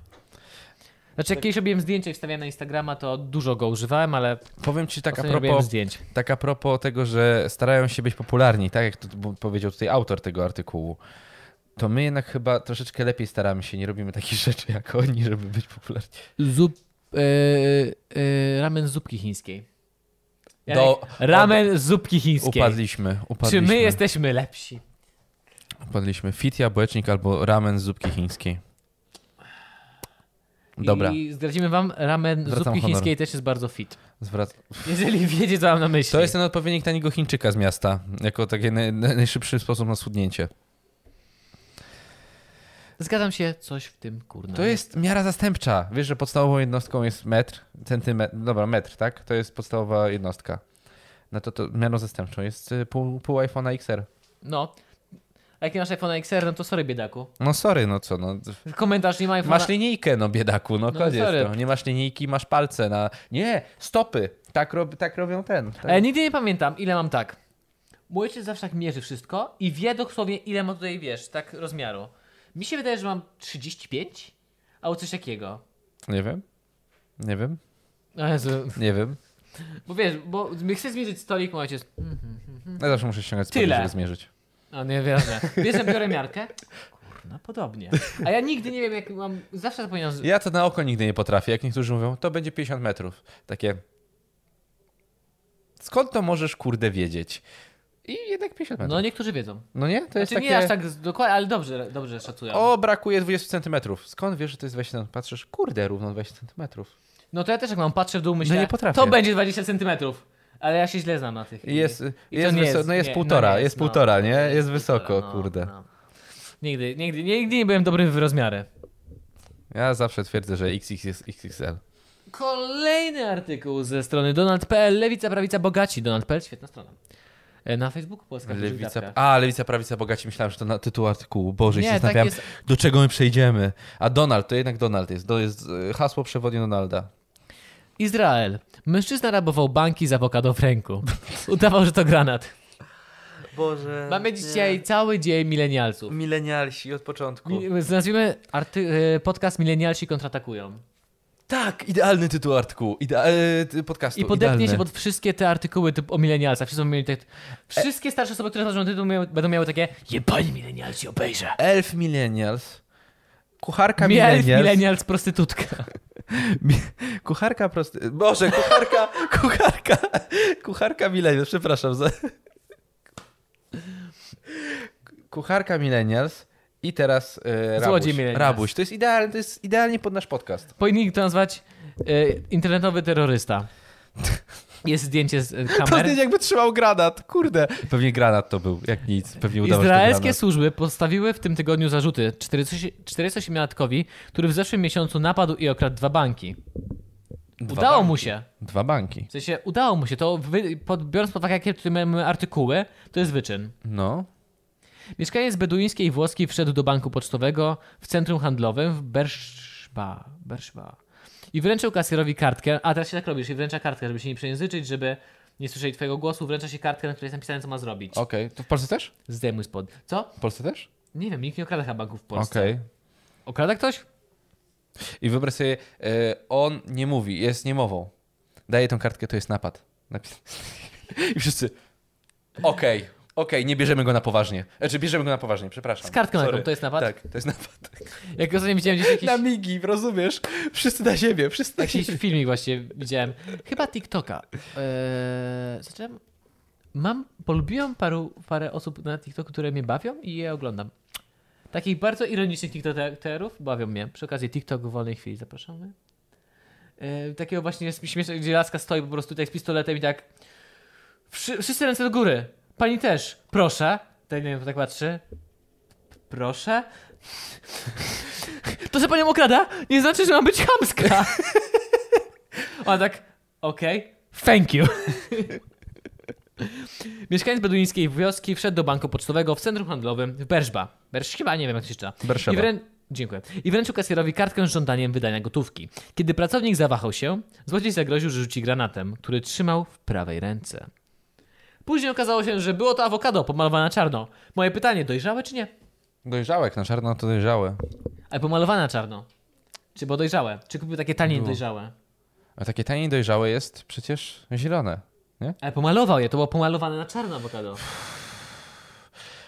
Znaczy, jak kiedyś robiłem zdjęcie i wstawiałem na Instagrama, to dużo go używałem, ale Powiem ci tak a ostatnio robiłem propos, zdjęć. tak a propos tego, że starają się być popularni, tak jak to b- powiedział tutaj autor tego artykułu. To my jednak chyba troszeczkę lepiej staramy się, nie robimy takich (laughs) rzeczy jak oni, żeby być popularni. Zup, e, yy, yy, ramen z zupki chińskiej. Janek, Do- ramen z zupki chińskiej. Upadliśmy, upadliśmy. Czy my jesteśmy lepsi? Upadliśmy. Fit, jabłecznik albo ramen z zupki chińskiej. Dobra, I zdradzimy wam, ramen z Zwracam zupki honor. chińskiej też jest bardzo fit. zwrac... Jeżeli (laughs) wiecie, co mam na myśli. To jest ten odpowiednik taniego Chińczyka z miasta, jako taki naj, naj- najszybszy sposób na schudnięcie. Zgadzam się, coś w tym, kurna. To jest miara zastępcza. Wiesz, że podstawową jednostką jest metr, centymetr, dobra, metr, tak? To jest podstawowa jednostka. No to, to miarą zastępczą jest y, pół, pół iPhone'a XR. No. A jak nie masz iPhone XR, no to sorry, biedaku. No sorry, no co, no. Komentarz nie ma iPhone'a. Masz linijkę, no biedaku, no, No koniec. sorry. No. Nie masz linijki, masz palce na... Nie, stopy. Tak, rob, tak robią ten. Tak. E, nigdy nie pamiętam, ile mam tak. Mój ojciec zawsze tak mierzy wszystko i wie dosłownie, ile ma tutaj, wiesz, tak rozmiaru. Mi się wydaje, że mam 35? Albo coś takiego. Nie wiem. Nie wiem. O Jezu. Nie wiem. Bo wiesz, bo my chcę zmierzyć stolik, mój ojciec. mm, Ja zawsze muszę ściągać spodnie, Tyle. żeby zmierzyć. A nie wiadomo. Bierzę, biorę miarkę. Kurna, podobnie. A ja nigdy nie wiem, jak mam. Zawsze zapominam. Z... Ja to na oko nigdy nie potrafię. Jak niektórzy mówią, to będzie 50 metrów. Takie. Skąd to możesz, kurde, wiedzieć? I jednak 50 metrów. No, No, niektórzy wiedzą. nie? To jest Znaczy, nie takie. aż tak z- dokładnie, ale dobrze, dobrze szacują. O, brakuje 20 centymetrów. Skąd wiesz, że to jest 20 cm? Patrzysz, kurde, równo 20 centymetrów. No to ja też jak mam, patrzę w dół, myślę, No nie potrafię. to będzie 20 centymetrów. Ale ja się źle znam na tych. I Jest, I to jest, nie wyso- no jest nie, półtora, no nie jest, półtora, no. nie? Jest wysoko, Półtora, no, kurde. no. Nigdy, nigdy, nigdy nie byłem dobry w rozmiary. Ja zawsze twierdzę, że XX jest XXL. Kolejny artykuł ze strony Donald.pl, Lewica, Prawica, Bogaci. Donald.pl, świetna strona. E, Na Facebooku Polska Lewica, Lewica. a, lewica, prawica, bogaci. Myślałem, że to na tytuł artykułu. Boże, nie, się Nie, tak zastanawiałem, jest. do czego my przejdziemy. A Donald, to jednak Donald jest. To jest e, hasło przewodnie Donalda. Izrael. Mężczyzna rabował banki z awokado w (laughs) ręku. Udawał, że to granat. Boże. Mamy dzisiaj cały dzień milenialców. Milenialsi od początku. Mi- Nazwijmy arty- e, podcast Milenialsi kontratakują. tak, idealny tytuł artykułu. Idea- e, ty- podcastu. I podepnie idealny. się pod wszystkie te artykuły typ o milenialcach. Wszyscy będą mieli te, wszystkie starsze osoby, które znaczą tytuł, miały, będą miały takie jebani milenialci obejrzę. Elf Millennials. Kucharka Mielf, Millennials. milenials, prostytutka. Mi- Kucharka prosty... Boże, kucharka, (laughs) kucharka, kucharka Millennials, przepraszam za... Kucharka Millennials i teraz e, rabuś. Złodziej millennials. rabuś. To jest idealnie, to jest idealnie pod nasz podcast. Powinni to nazwać e, internetowy terrorysta. Jest zdjęcie z e, kamer. Pewnie jakby trzymał granat, kurde. Pewnie granat to był, jak nic. Pewnie udało Izraelskie się to służby postawiły w tym tygodniu zarzuty 48-latkowi, który w zeszłym miesiącu napadł i okradł dwa banki. granat. udało banki. mu się. Dwa banki. W sensie udało mu się. To wy, pod, biorąc pod uwagę, jakie tutaj mamy artykuły, to jest wyczyn. No. Mieszkaniec beduińskiej włoski wszedł do banku pocztowego w centrum handlowym w Berszba. Berszba. I wręczył kasjerowi kartkę. A teraz się tak robisz, i wręcza kartkę, żeby się nie przejęzyczyć, żeby nie słyszeli twojego głosu. Wręcza się kartkę, na której jest napisane, co ma zrobić. Okej. To w Polsce też? Zdejmuj spod. Co? W Polsce też? Nie wiem, nikt nie okrada chyba banków w Polsce. Okej. Okrada ktoś? I wyobraź sobie, e, on nie mówi, jest niemową. Daje tą kartkę, to jest napad. Napis... (laughs) I wszyscy, okej, okej, nie bierzemy go na poważnie. Znaczy, bierzemy go na poważnie, przepraszam. Z kartką Sorry. taką, to jest napad? Tak, to jest napad. Jak ostatnio widziałem gdzieś jakiś, Na migi, rozumiesz? Wszyscy na siebie, wszyscy na jakiś siebie. filmik właśnie widziałem. Chyba TikToka. Eee, zacząłem... Mam, polubiłem paru, parę osób na TikToku, które mnie bawią i je oglądam. Takich bardzo ironicznych TikTokerów bawią mnie. Przy okazji TikTok w wolnej chwili zapraszamy. E, takiego właśnie śmiesznego, gdzie laska stoi po prostu tak z pistoletem i tak Wszy, wszyscy ręce do góry. Pani też. Proszę. Tak, nie wiem, tak patrzy. Proszę. To, że panią okrada, nie znaczy, że ma być chamska. Ona tak, okej, thank you. Mieszkaniec beduińskiej wioski wszedł do banku pocztowego w centrum handlowym w Berżba. Berż chyba, nie wiem jak to się czyta. Berszewa. I wrę- Dziękuję. I wręczył kasjerowi kartkę z żądaniem wydania gotówki. Kiedy pracownik zawahał się, złodziej zagroził, że rzuci granatem, który trzymał w prawej ręce. Później okazało się, że było to awokado pomalowane na czarno. Moje pytanie, dojrzałe czy nie? Dojrzałek na czarno to dojrzałe. Ale pomalowane na czarno. Czy było dojrzałe? Czy kupił takie tanie Było. dojrzałe? A takie taniej dojrzałe jest przecież zielone. Ale pomalował je, to było pomalowane na czarno awokado.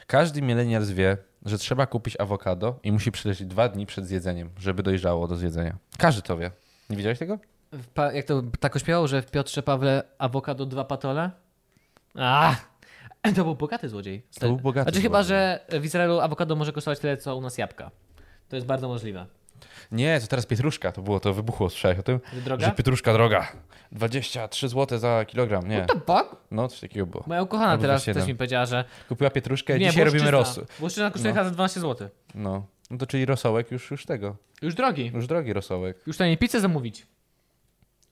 Każdy milenial wie, że trzeba kupić awokado i musi przyleźć dwa dni przed zjedzeniem, żeby dojrzało do zjedzenia. Każdy to wie. Nie widziałeś tego? W Pa- jak to tak ośmiało, że w Piotrze Pawle awokado dwa patole? A, To był bogaty złodziej. To był bogaty Znaczy chyba, złodziej. że w Izraelu awokado może kosztować tyle, co u nas jabłka. To jest bardzo możliwe. Nie, to teraz pietruszka. To było, to wybuchło, słyszałeś o tym? Że droga? Że pietruszka droga. 23 zł za kilogram, nie. To bok? No, coś takiego było. Moja ukochana Albo teraz 27. też mi powiedziała, że... Kupiła pietruszkę, dzisiaj włoszczyzna. robimy rosół. Włoszczyzna kosztuje No. chyba za 12 zł. No. no to czyli rosołek już, już tego. Już drogi. Już drogi rosołek. Już taniej pizzę zamówić.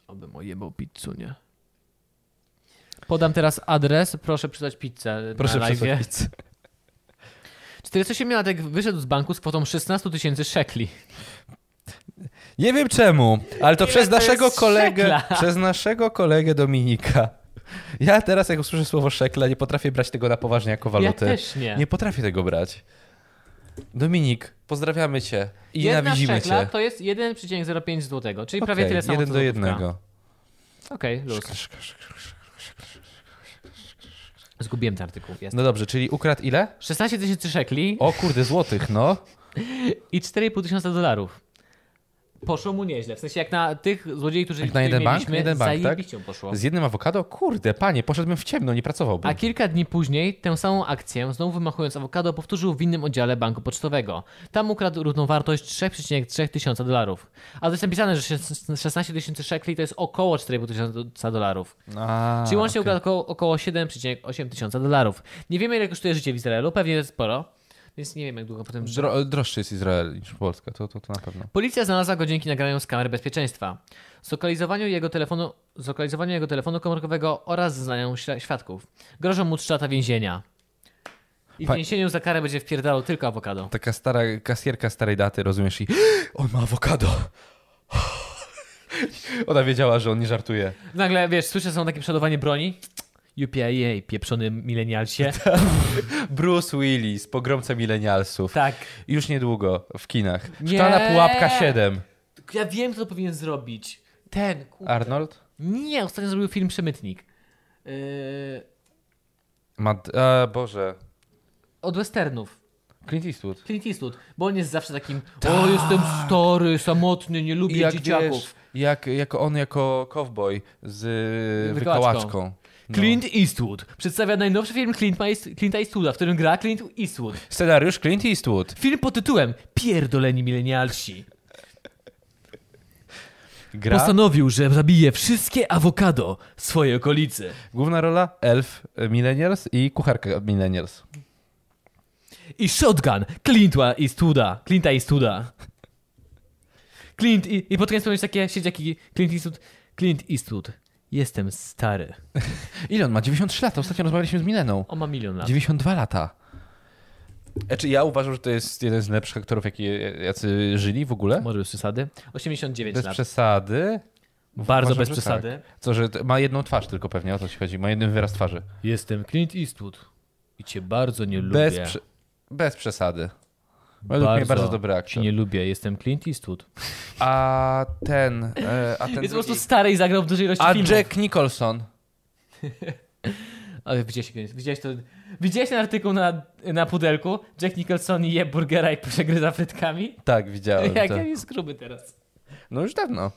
Oby moje był pizzunie. Podam teraz adres, proszę przysłać pizzę Proszę na przysłać live. (laughs) 48-latek wyszedł z banku z kwotą 16 tysięcy szekli. Nie wiem czemu, ale to Ile przez to naszego jest kolegę, szekla? przez naszego kolegę Dominika. Ja teraz jak usłyszę słowo szekla, nie potrafię brać tego na poważnie jako walutę. Ja też nie. Nie potrafię tego brać. Dominik, pozdrawiamy cię i Jedna nienawidzimy szekla cię. to jest 1,05 zł, czyli prawie Okej, tyle samo Jeden co do złotówka. jednego. Okej, luz. Zgubiłem ten artykuł. Jest. No dobrze, czyli ukradł ile? 16 tysięcy szekli O kurde, złotych, no. i 4,5 tysiąca dolarów. Poszło mu nieźle. W sensie jak na tych złodziei, którzy Jak na jeden których bank? mieliśmy, Na jeden bank, tak? zajebiście mu poszło. Z jednym awokado? Kurde, panie, poszedłbym w ciemno, nie pracowałbym. A kilka dni później tę samą akcję, znowu wymachując awokado, powtórzył w innym oddziale banku pocztowego. Tam ukradł równowartość 3,3 tysiąca dolarów. A to jest napisane, że szes- 16 tysięcy szekli to jest około 4,5 tysiąca dolarów. A, Czyli łącznie okej. ukradł około, około 7,8 tysiąca dolarów. Nie wiemy ile kosztuje życie w Izraelu, pewnie sporo, więc nie wiem jak długo potem żyje. Dro- droższy jest Izrael niż Polska, to, to, to na pewno. Policja znalazła go dzięki nagraniom z kamer bezpieczeństwa, zlokalizowaniu jego telefonu, zlokalizowaniu jego telefonu komórkowego oraz zeznaniom śla- świadków. Grożą mu trzy lata więzienia. I w Pa- więzieniu za karę będzie wpierdalał tylko awokado. Taka stara kasjerka starej daty, rozumiesz? I (gasps) on ma awokado. (gasps) Ona wiedziała, że on nie żartuje. Nagle, wiesz, słyszę, są takie przeładowanie broni. UPIA, pieprzony (laughs) milenialsie. Tak. Bruce Willis, pogromca milenialsów. Tak. Już niedługo w kinach. Nie. Szklana pułapka 7. Ja wiem, kto to powinien zrobić. Ten, kurde. Arnold? Nie, ostatnio zrobił film Przemytnik. Yy, Mad... A, Boże. od westernów. Clint Eastwood. Clint Eastwood, bo on jest zawsze takim o, jestem stary, samotny, nie lubię I Tak. jak dzieciaków. wiesz, jak, jako on jako cowboy z y, Wykałaczką. wykałaczką. No. Clint Eastwood przedstawia najnowszy film Clint East, Clint Eastwooda, w którym gra Clint Eastwood. Scenariusz Clint Eastwood. Film pod tytułem Pierdoleni milenialsi. Gra. Postanowił, że zabije wszystkie awokado w swojej okolicy. Główna rola elf y, millennials i kucharka millennials. I shotgun Clint'a Eastwooda. Clint'a Eastwooda. Clint i, i pod koniec powiedzieć takie siedziaki Clint Eastwood. Clint Eastwood. Jestem stary. Ile on ma? 93 lata. Ostatnio rozmawialiśmy z Mileną. On ma milion lat. 92 lata. Znaczy, ja uważam, że to jest jeden z lepszych aktorów, jaki, jacy żyli w ogóle. Może bez przesady. 89 Bez lat. przesady. Bardzo Uważam, bez że przesady. Tak. Co, że t- ma jedną twarz tylko pewnie, o to ci chodzi. Ma jeden wyraz twarzy. Jestem Clint Eastwood i cię bardzo nie lubię. Bez, prze, bez przesady. Według mnie bardzo dobry Ci aktor. nie lubię, jestem Clint Eastwood. A ten... E, a ten Jest po drugi. prostu stary i zagrał w dużej ilości a filmów. Jack Nicholson. Ale widziałeś, widziałeś, to, widziałeś ten artykuł na, na pudelku? Jack Nicholson je burgera i przegryza frytkami? Tak, (laughs) widziałem Jak to. ja jest gruby teraz. No już dawno. No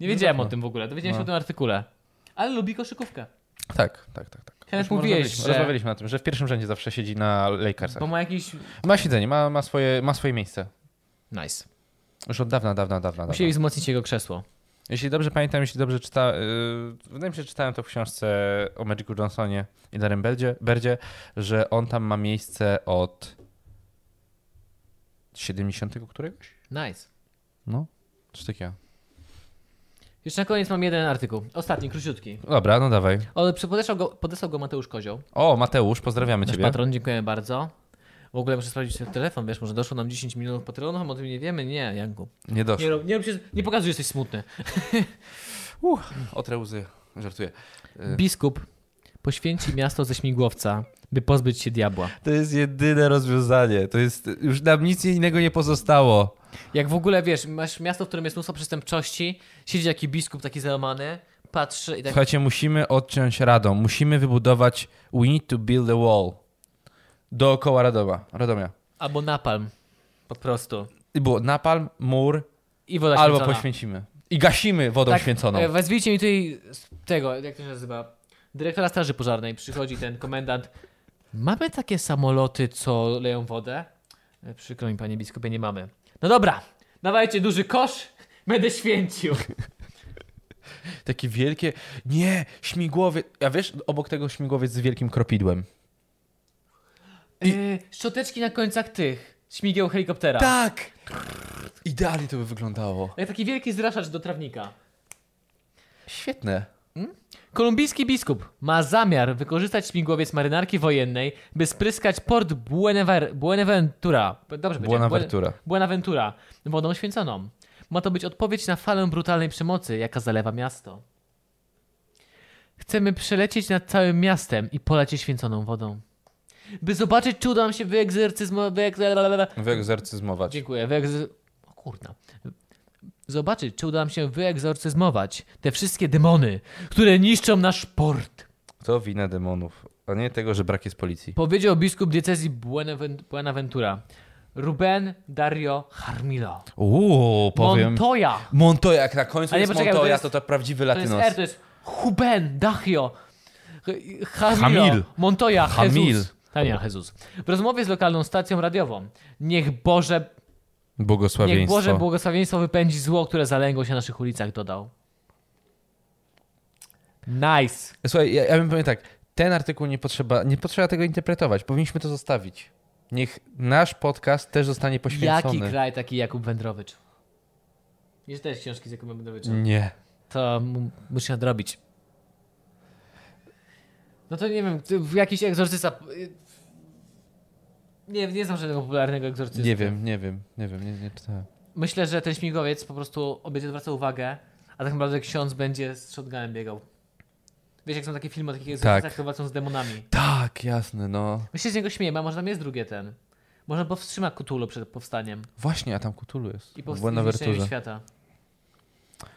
Nie wiedziałem o tym w ogóle, dowiedziałem się o tym artykule. Ale lubi koszykówkę. Tak, tak, tak. tak. Kenneth, Już mówiłeś, rozmawialiśmy, że... rozmawialiśmy o tym, że w pierwszym rzędzie zawsze siedzi na Lakersach. Bo ma jakiś... Ma siedzenie, ma, ma, swoje, ma swoje miejsce. Nice. Już od dawna, dawna, dawna. dawna. Musieli wzmocnić jego krzesło. Jeśli dobrze pamiętam, jeśli dobrze czytałem, wydaje mi się, że czytałem to w książce o Magicu Johnsonie i Darren Berdzie, Berdzie, że on tam ma miejsce od 70 któregoś? Nice. No, coś takiego. Jeszcze na koniec mam jeden artykuł. Ostatni, króciutki. Dobra, no dawaj. O, przy- podesłał go, podesłał go Mateusz Kozioł. O, Mateusz, pozdrawiamy Nasz ciebie. patron, dziękujemy bardzo. W ogóle muszę sprawdzić ten telefon, wiesz, może doszło nam 10 milionów patronów, a my o tym nie wiemy. Nie, Janku. Nie doszło. Nie, rob, nie, rób się, nie pokazuj, że jesteś smutny. Otrę łzy, żartuję. Y, Biskup poświęci miasto ze śmigłowca, by pozbyć się diabła. To jest jedyne rozwiązanie. To jest, już nam nic innego nie pozostało. Jak w ogóle, wiesz, masz miasto, w którym jest mnóstwo przestępczości, siedzi taki biskup taki załamany, patrzy i tak... Słuchajcie, musimy odciąć Radom. Musimy wybudować. We need to build a wall. Dookoła Radoma. Radomia. Albo napalm. Po prostu. I było napalm, mur, I woda albo święcona. poświęcimy. I gasimy wodą święconą. e, Wezwijcie mi tutaj z tego, jak to się nazywa, dyrektora straży pożarnej. Przychodzi ten komendant. Mamy takie samoloty, co leją wodę? E, Przykro mi, panie biskupie, nie mamy. No dobra, dawajcie duży kosz, będę święcił. Takie wielkie. Nie, śmigłowiec. A wiesz, obok tego śmigłowiec z wielkim kropidłem. E, szczoteczki na końcach tych śmigieł helikoptera. Tak! Idealnie to by wyglądało. Jak taki wielki zraszacz do trawnika. Świetne. Kolumbijski biskup ma zamiar wykorzystać śmigłowiec marynarki wojennej, by spryskać port Buenaver- Buenaventura. Dobrze powiedziałem, Buenaventura. Buen- Buenaventura wodą święconą. Ma to być odpowiedź na falę brutalnej przemocy, jaka zalewa miasto. Chcemy przelecieć nad całym miastem i polać je święconą wodą. By zobaczyć, czy uda nam się wyegzercyzmować. Wyegzer- Wyegzorcyzmować. Dziękuję. Wyegz... O kurna. Zobaczyć, czy uda nam się wyegzorcyzmować te wszystkie demony, które niszczą nasz port. To wina demonów, a nie tego, że brak jest policji. Powiedział biskup diecezji Buenaven- Buenaventura. Ruben Dario Harmilo. Uuu, powiem. Montoya. Montoya, jak na końcu Ale jest poczekaj, bo to Montoya, jest- to to prawdziwy To jest latynos. R, to jest Huben, Dachio, H- Hamilo, Hamil. Montoya, Hamil. Jesus. Hamil, Jesus. W rozmowie z lokalną stacją radiową. Niech Boże, niech Błogosławieństwo. Boże błogosławieństwo wypędzi zło, które zalęgło się na naszych ulicach, dodał. Nice. Słuchaj, ja, ja bym powiedział tak. Ten artykuł nie potrzeba, nie potrzeba tego interpretować. Powinniśmy to zostawić. Niech nasz podcast też zostanie Jaki poświęcony. kraj taki Jakub Wędrowicz? Nie czytałeś książki z Jakubem Wędrowiczem? nie. To m- muszę nadrobić. No to nie wiem, ty- w- jakiś egzorcysta. y, Nie, nie znam żadnego popularnego egzorcysty. Nie wiem, nie wiem, nie wiem, nie, nie czytałem. Myślę, że ten śmigłowiec po prostu obiecie zwraca uwagę, a tak naprawdę ksiądz będzie z shotgunem biegał. Wiesz, jak są takie filmy o takich egzorcystach, które walczą z demonami. Tak, jasne, no. My się z niego śmiejemy, a może tam jest drugie ten. Może powstrzyma Cthulhu przed powstaniem Właśnie, a tam Kutulu jest. i W powstrzyma Buenaventurze. świata.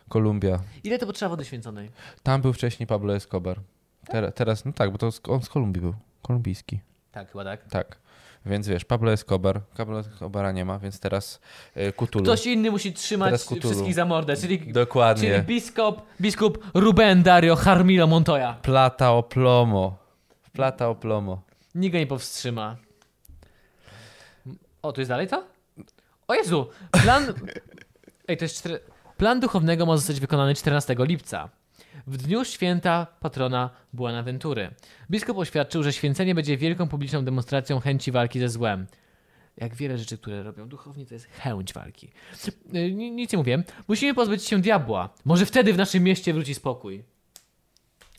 Kolumbia. Ile to potrzeba wody święconej? Tam był wcześniej Pablo Escobar. Tera, teraz, no tak, bo to z, on z Kolumbii był. Kolumbijski. Tak, chyba tak. Tak. Więc wiesz, Pablo Escobar. Pablo Escobara nie ma, więc teraz y, Kutulu. Ktoś inny musi trzymać Teraz Cthulhu. wszystkich za mordę, czyli Dokładnie. Czyli biskup, biskup Ruben Dario Harmilo Montoya. Plata o plomo. Plata o plomo. Nikt go nie powstrzyma. O, tu jest dalej to? O Jezu! Plan... Ej, to jest czter... Plan duchownego ma zostać wykonany 14 lipca. W dniu święta patrona Buenaventury. Biskup oświadczył, że święcenie będzie wielką publiczną demonstracją chęci walki ze złem. Jak wiele rzeczy, które robią duchowni, to jest chęć walki. Y, ni- Nic nie mówię. Musimy pozbyć się diabła. Może wtedy w naszym mieście wróci spokój.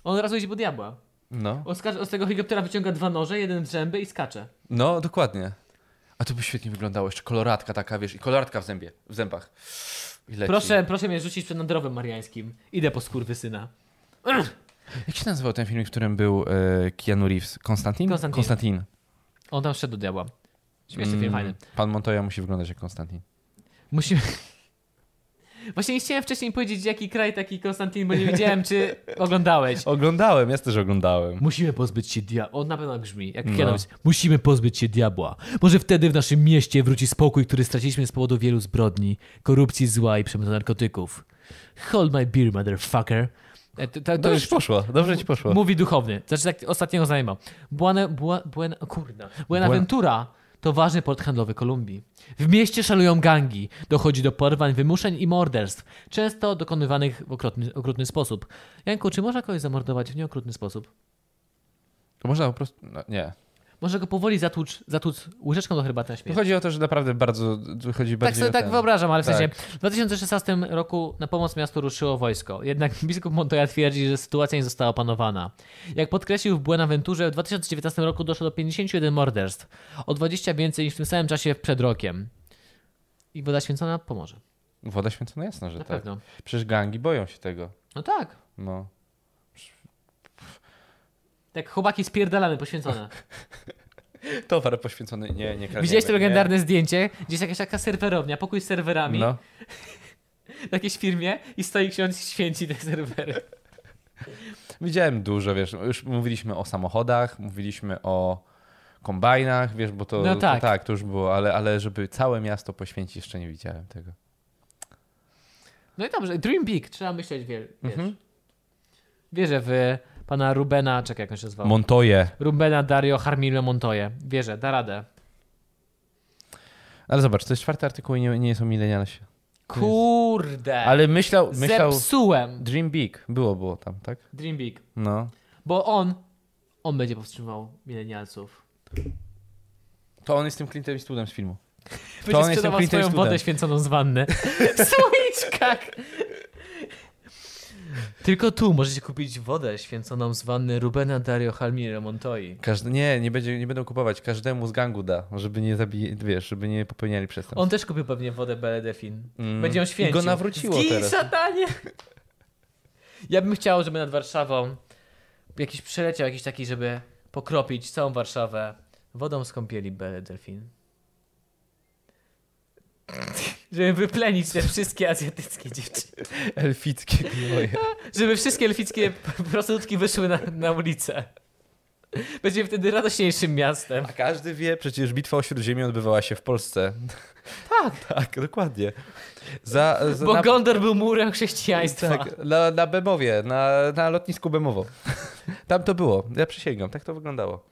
On od razu idzie po diabła. No. On skacze, z tego helikoptera wyciąga dwa noże, jeden w zęby i skacze. No, dokładnie. A to by świetnie wyglądało. Jeszcze koloratka taka, wiesz, i koloratka w zębie, w zębach. I leci. Proszę, proszę mnie rzucić przed nadrowem mariańskim. Idę po skurwysyna. Jak się nazywał ten film, w którym był e, Keanu Reeves? Konstantin? Konstantin. Konstantin. On tam wszedł do diabła. Śmieszny Mm, film, fajny. Pan Montoya musi wyglądać jak Konstantin. Musimy... (laughs) Właśnie nie chciałem wcześniej powiedzieć, jaki kraj taki Konstantin, bo nie wiedziałem, czy (laughs) oglądałeś. Oglądałem, ja też oglądałem. Musimy pozbyć się diabła. On na pewno brzmi, jak No. no. Musimy pozbyć się diabła. Może wtedy w naszym mieście wróci spokój, który straciliśmy z powodu wielu zbrodni, korupcji, zła i przemytu narkotyków. Hold my beer, motherfucker. E, To, to, to Dobrze już ci poszło, dobrze ci poszło. mówi duchowny. Znaczy tak ostatniego znajomego. Buena, bua, buen, kurna. Buenaventura to ważny port handlowy Kolumbii. W mieście szalują gangi. Dochodzi do porwań, wymuszeń i morderstw. Często dokonywanych w okrutny, okrutny sposób. Janku, czy można kogoś zamordować w nieokrutny sposób? To można po prostu. No, nie. Może go powoli zatłucz, zatłuc łyżeczką do herbaty na Tu śmierć. chodzi o to, że naprawdę bardzo. Tu chodzi Tak, bardziej sobie, o tak ten- wyobrażam, ale w Tak. sensie w 2016 roku na pomoc miastu ruszyło wojsko. Jednak (laughs) biskup Montoya twierdzi, że sytuacja nie została opanowana. Jak podkreślił w Buenaventurze, w 2019 roku doszło do 51 morderstw. O 20 więcej niż w tym samym czasie przed rokiem. I woda święcona pomoże. Woda święcona jasna, że Na tak. pewno. Przecież gangi boją się tego. No tak. No. Tak, chłopaki spierdalamy, (laughs) poświęcone. Towar poświęcony. Nie, nie kradniemy. Widziałeś to nie. legendarne zdjęcie? Gdzieś jakaś taka serwerownia, pokój z serwerami No. w jakiejś firmie i stoi ksiądz i święci te serwery. Widziałem dużo, wiesz. Już mówiliśmy o samochodach, mówiliśmy o kombajnach, wiesz, bo to. No tak. To, tak, to już było, ale, ale żeby całe miasto poświęcić, jeszcze nie widziałem tego. No i dobrze, Dream Big, trzeba myśleć, wie, wiesz. Wierzę w pana Rubena, czekaj jak on No. się zwał. Montoje. Rubena Dario Harmilio Montoya. Wierzę, da radę. Ale zobacz, to jest czwarty artykuł i nie, nie są milenialsi. Kurde, Ale myślał, myślał. zepsułem Dream Big. Było, było tam, tak? Dream Big, No. bo on, on będzie powstrzymał milenialsów. To on jest tym Clint Eastwoodem z filmu. Będzie on jest sprzedawał tym Clint swoją wodę Eastwoodem. święconą z (laughs) wanny. W słoiczkach. Tylko tu możecie kupić wodę święconą z wanny Rubena Dario Harmilio Montoya. Każdy, nie, nie, będzie, nie będą kupować. Każdemu z gangu da, żeby nie zabije, wiesz, żeby nie popełniali przestępstw. On też kupił pewnie wodę Beledefin. Mm. Będzie ją I święcił. go nawróciło Zgij, teraz. satanie! (laughs) Ja bym chciał, żeby nad Warszawą jakiś przeleciał jakiś taki, żeby pokropić całą Warszawę wodą z kąpieli Beledefin. (laughs) Żeby wyplenić te wszystkie azjatyckie dziewczyny. Elfickie (laughs) gnoje. Tak. Żeby wszystkie elfickie prostytutki wyszły na, na ulicę. Będziemy wtedy radośniejszym miastem. A każdy wie, przecież bitwa o Śródziemie odbywała się w Polsce. Tak, (laughs) Tak, dokładnie. Za, za, bo na, Gondor był murem chrześcijaństwa. tak, na, na Bemowie, na, na lotnisku Bemowo. (laughs) Tam to było, ja przysięgam, tak to wyglądało.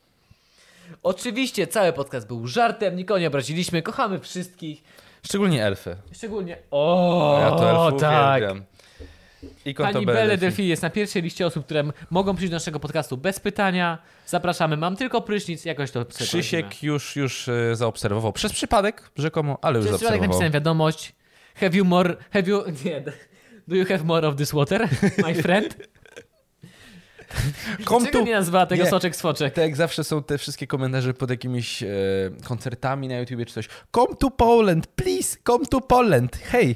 Oczywiście cały podcast był żartem, nikogo nie obraziliśmy, kochamy wszystkich. Szczególnie elfy. Szczególnie. O, ja to elfów tak. uwielbiam. Ikon to Pani Belle Belle Delphine. Delphi jest na pierwszej liście osób, które m- mogą przyjść do naszego podcastu bez pytania. Zapraszamy, mam tylko prysznic, jakoś to Krzysiek już, już e, zaobserwował. Przez przypadek rzekomo, ale już Przez przypadek zaobserwował. napisałem wiadomość. Have you more. Have you. (laughs) Nie. Do you have more of this water, my (laughs) friend? Come Czego to nie nazwała tego Nie. soczek swoczek? Tak jak zawsze są te wszystkie komentarze pod jakimiś e, koncertami na YouTubie czy coś. Come to Poland, please, come to Poland. Hey,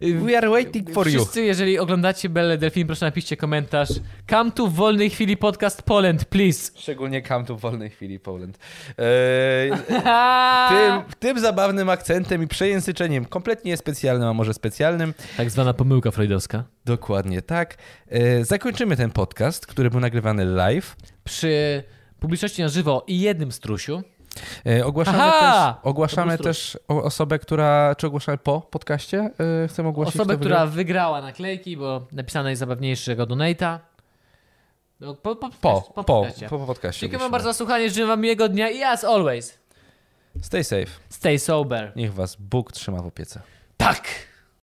we are waiting for you. Wszyscy, jeżeli oglądacie Belle Delfin, proszę napiszcie komentarz. Come tu w wolnej chwili podcast Poland, please. Szczególnie come to w wolnej chwili Poland. E, Tym... tym, tym zabawnym akcentem i przejęzyczeniem, kompletnie niespecjalnym, a może specjalnym, Tak zwana pomyłka freudowska. dokładnie tak, e, zakończymy ten podcast, który był nagrywany live. Przy publiczności na żywo i jednym strusiu. E, ogłaszamy Aha! też, ogłaszamy To był też o- osobę, która... Czy ogłaszamy po podcaście? E, chcemy ogłosić Osobę, kto która wygrał? wygrała naklejki, bo napisana jest zabawniejszego donata. No, po, po, Po, po, po, podcaście. po podcaście. Dziękuję wam ogłosimy. bardzo za słuchanie, życzę wam miłego dnia i as always, Stay safe. stay sober. Niech was Bóg trzyma w opiece. Tak!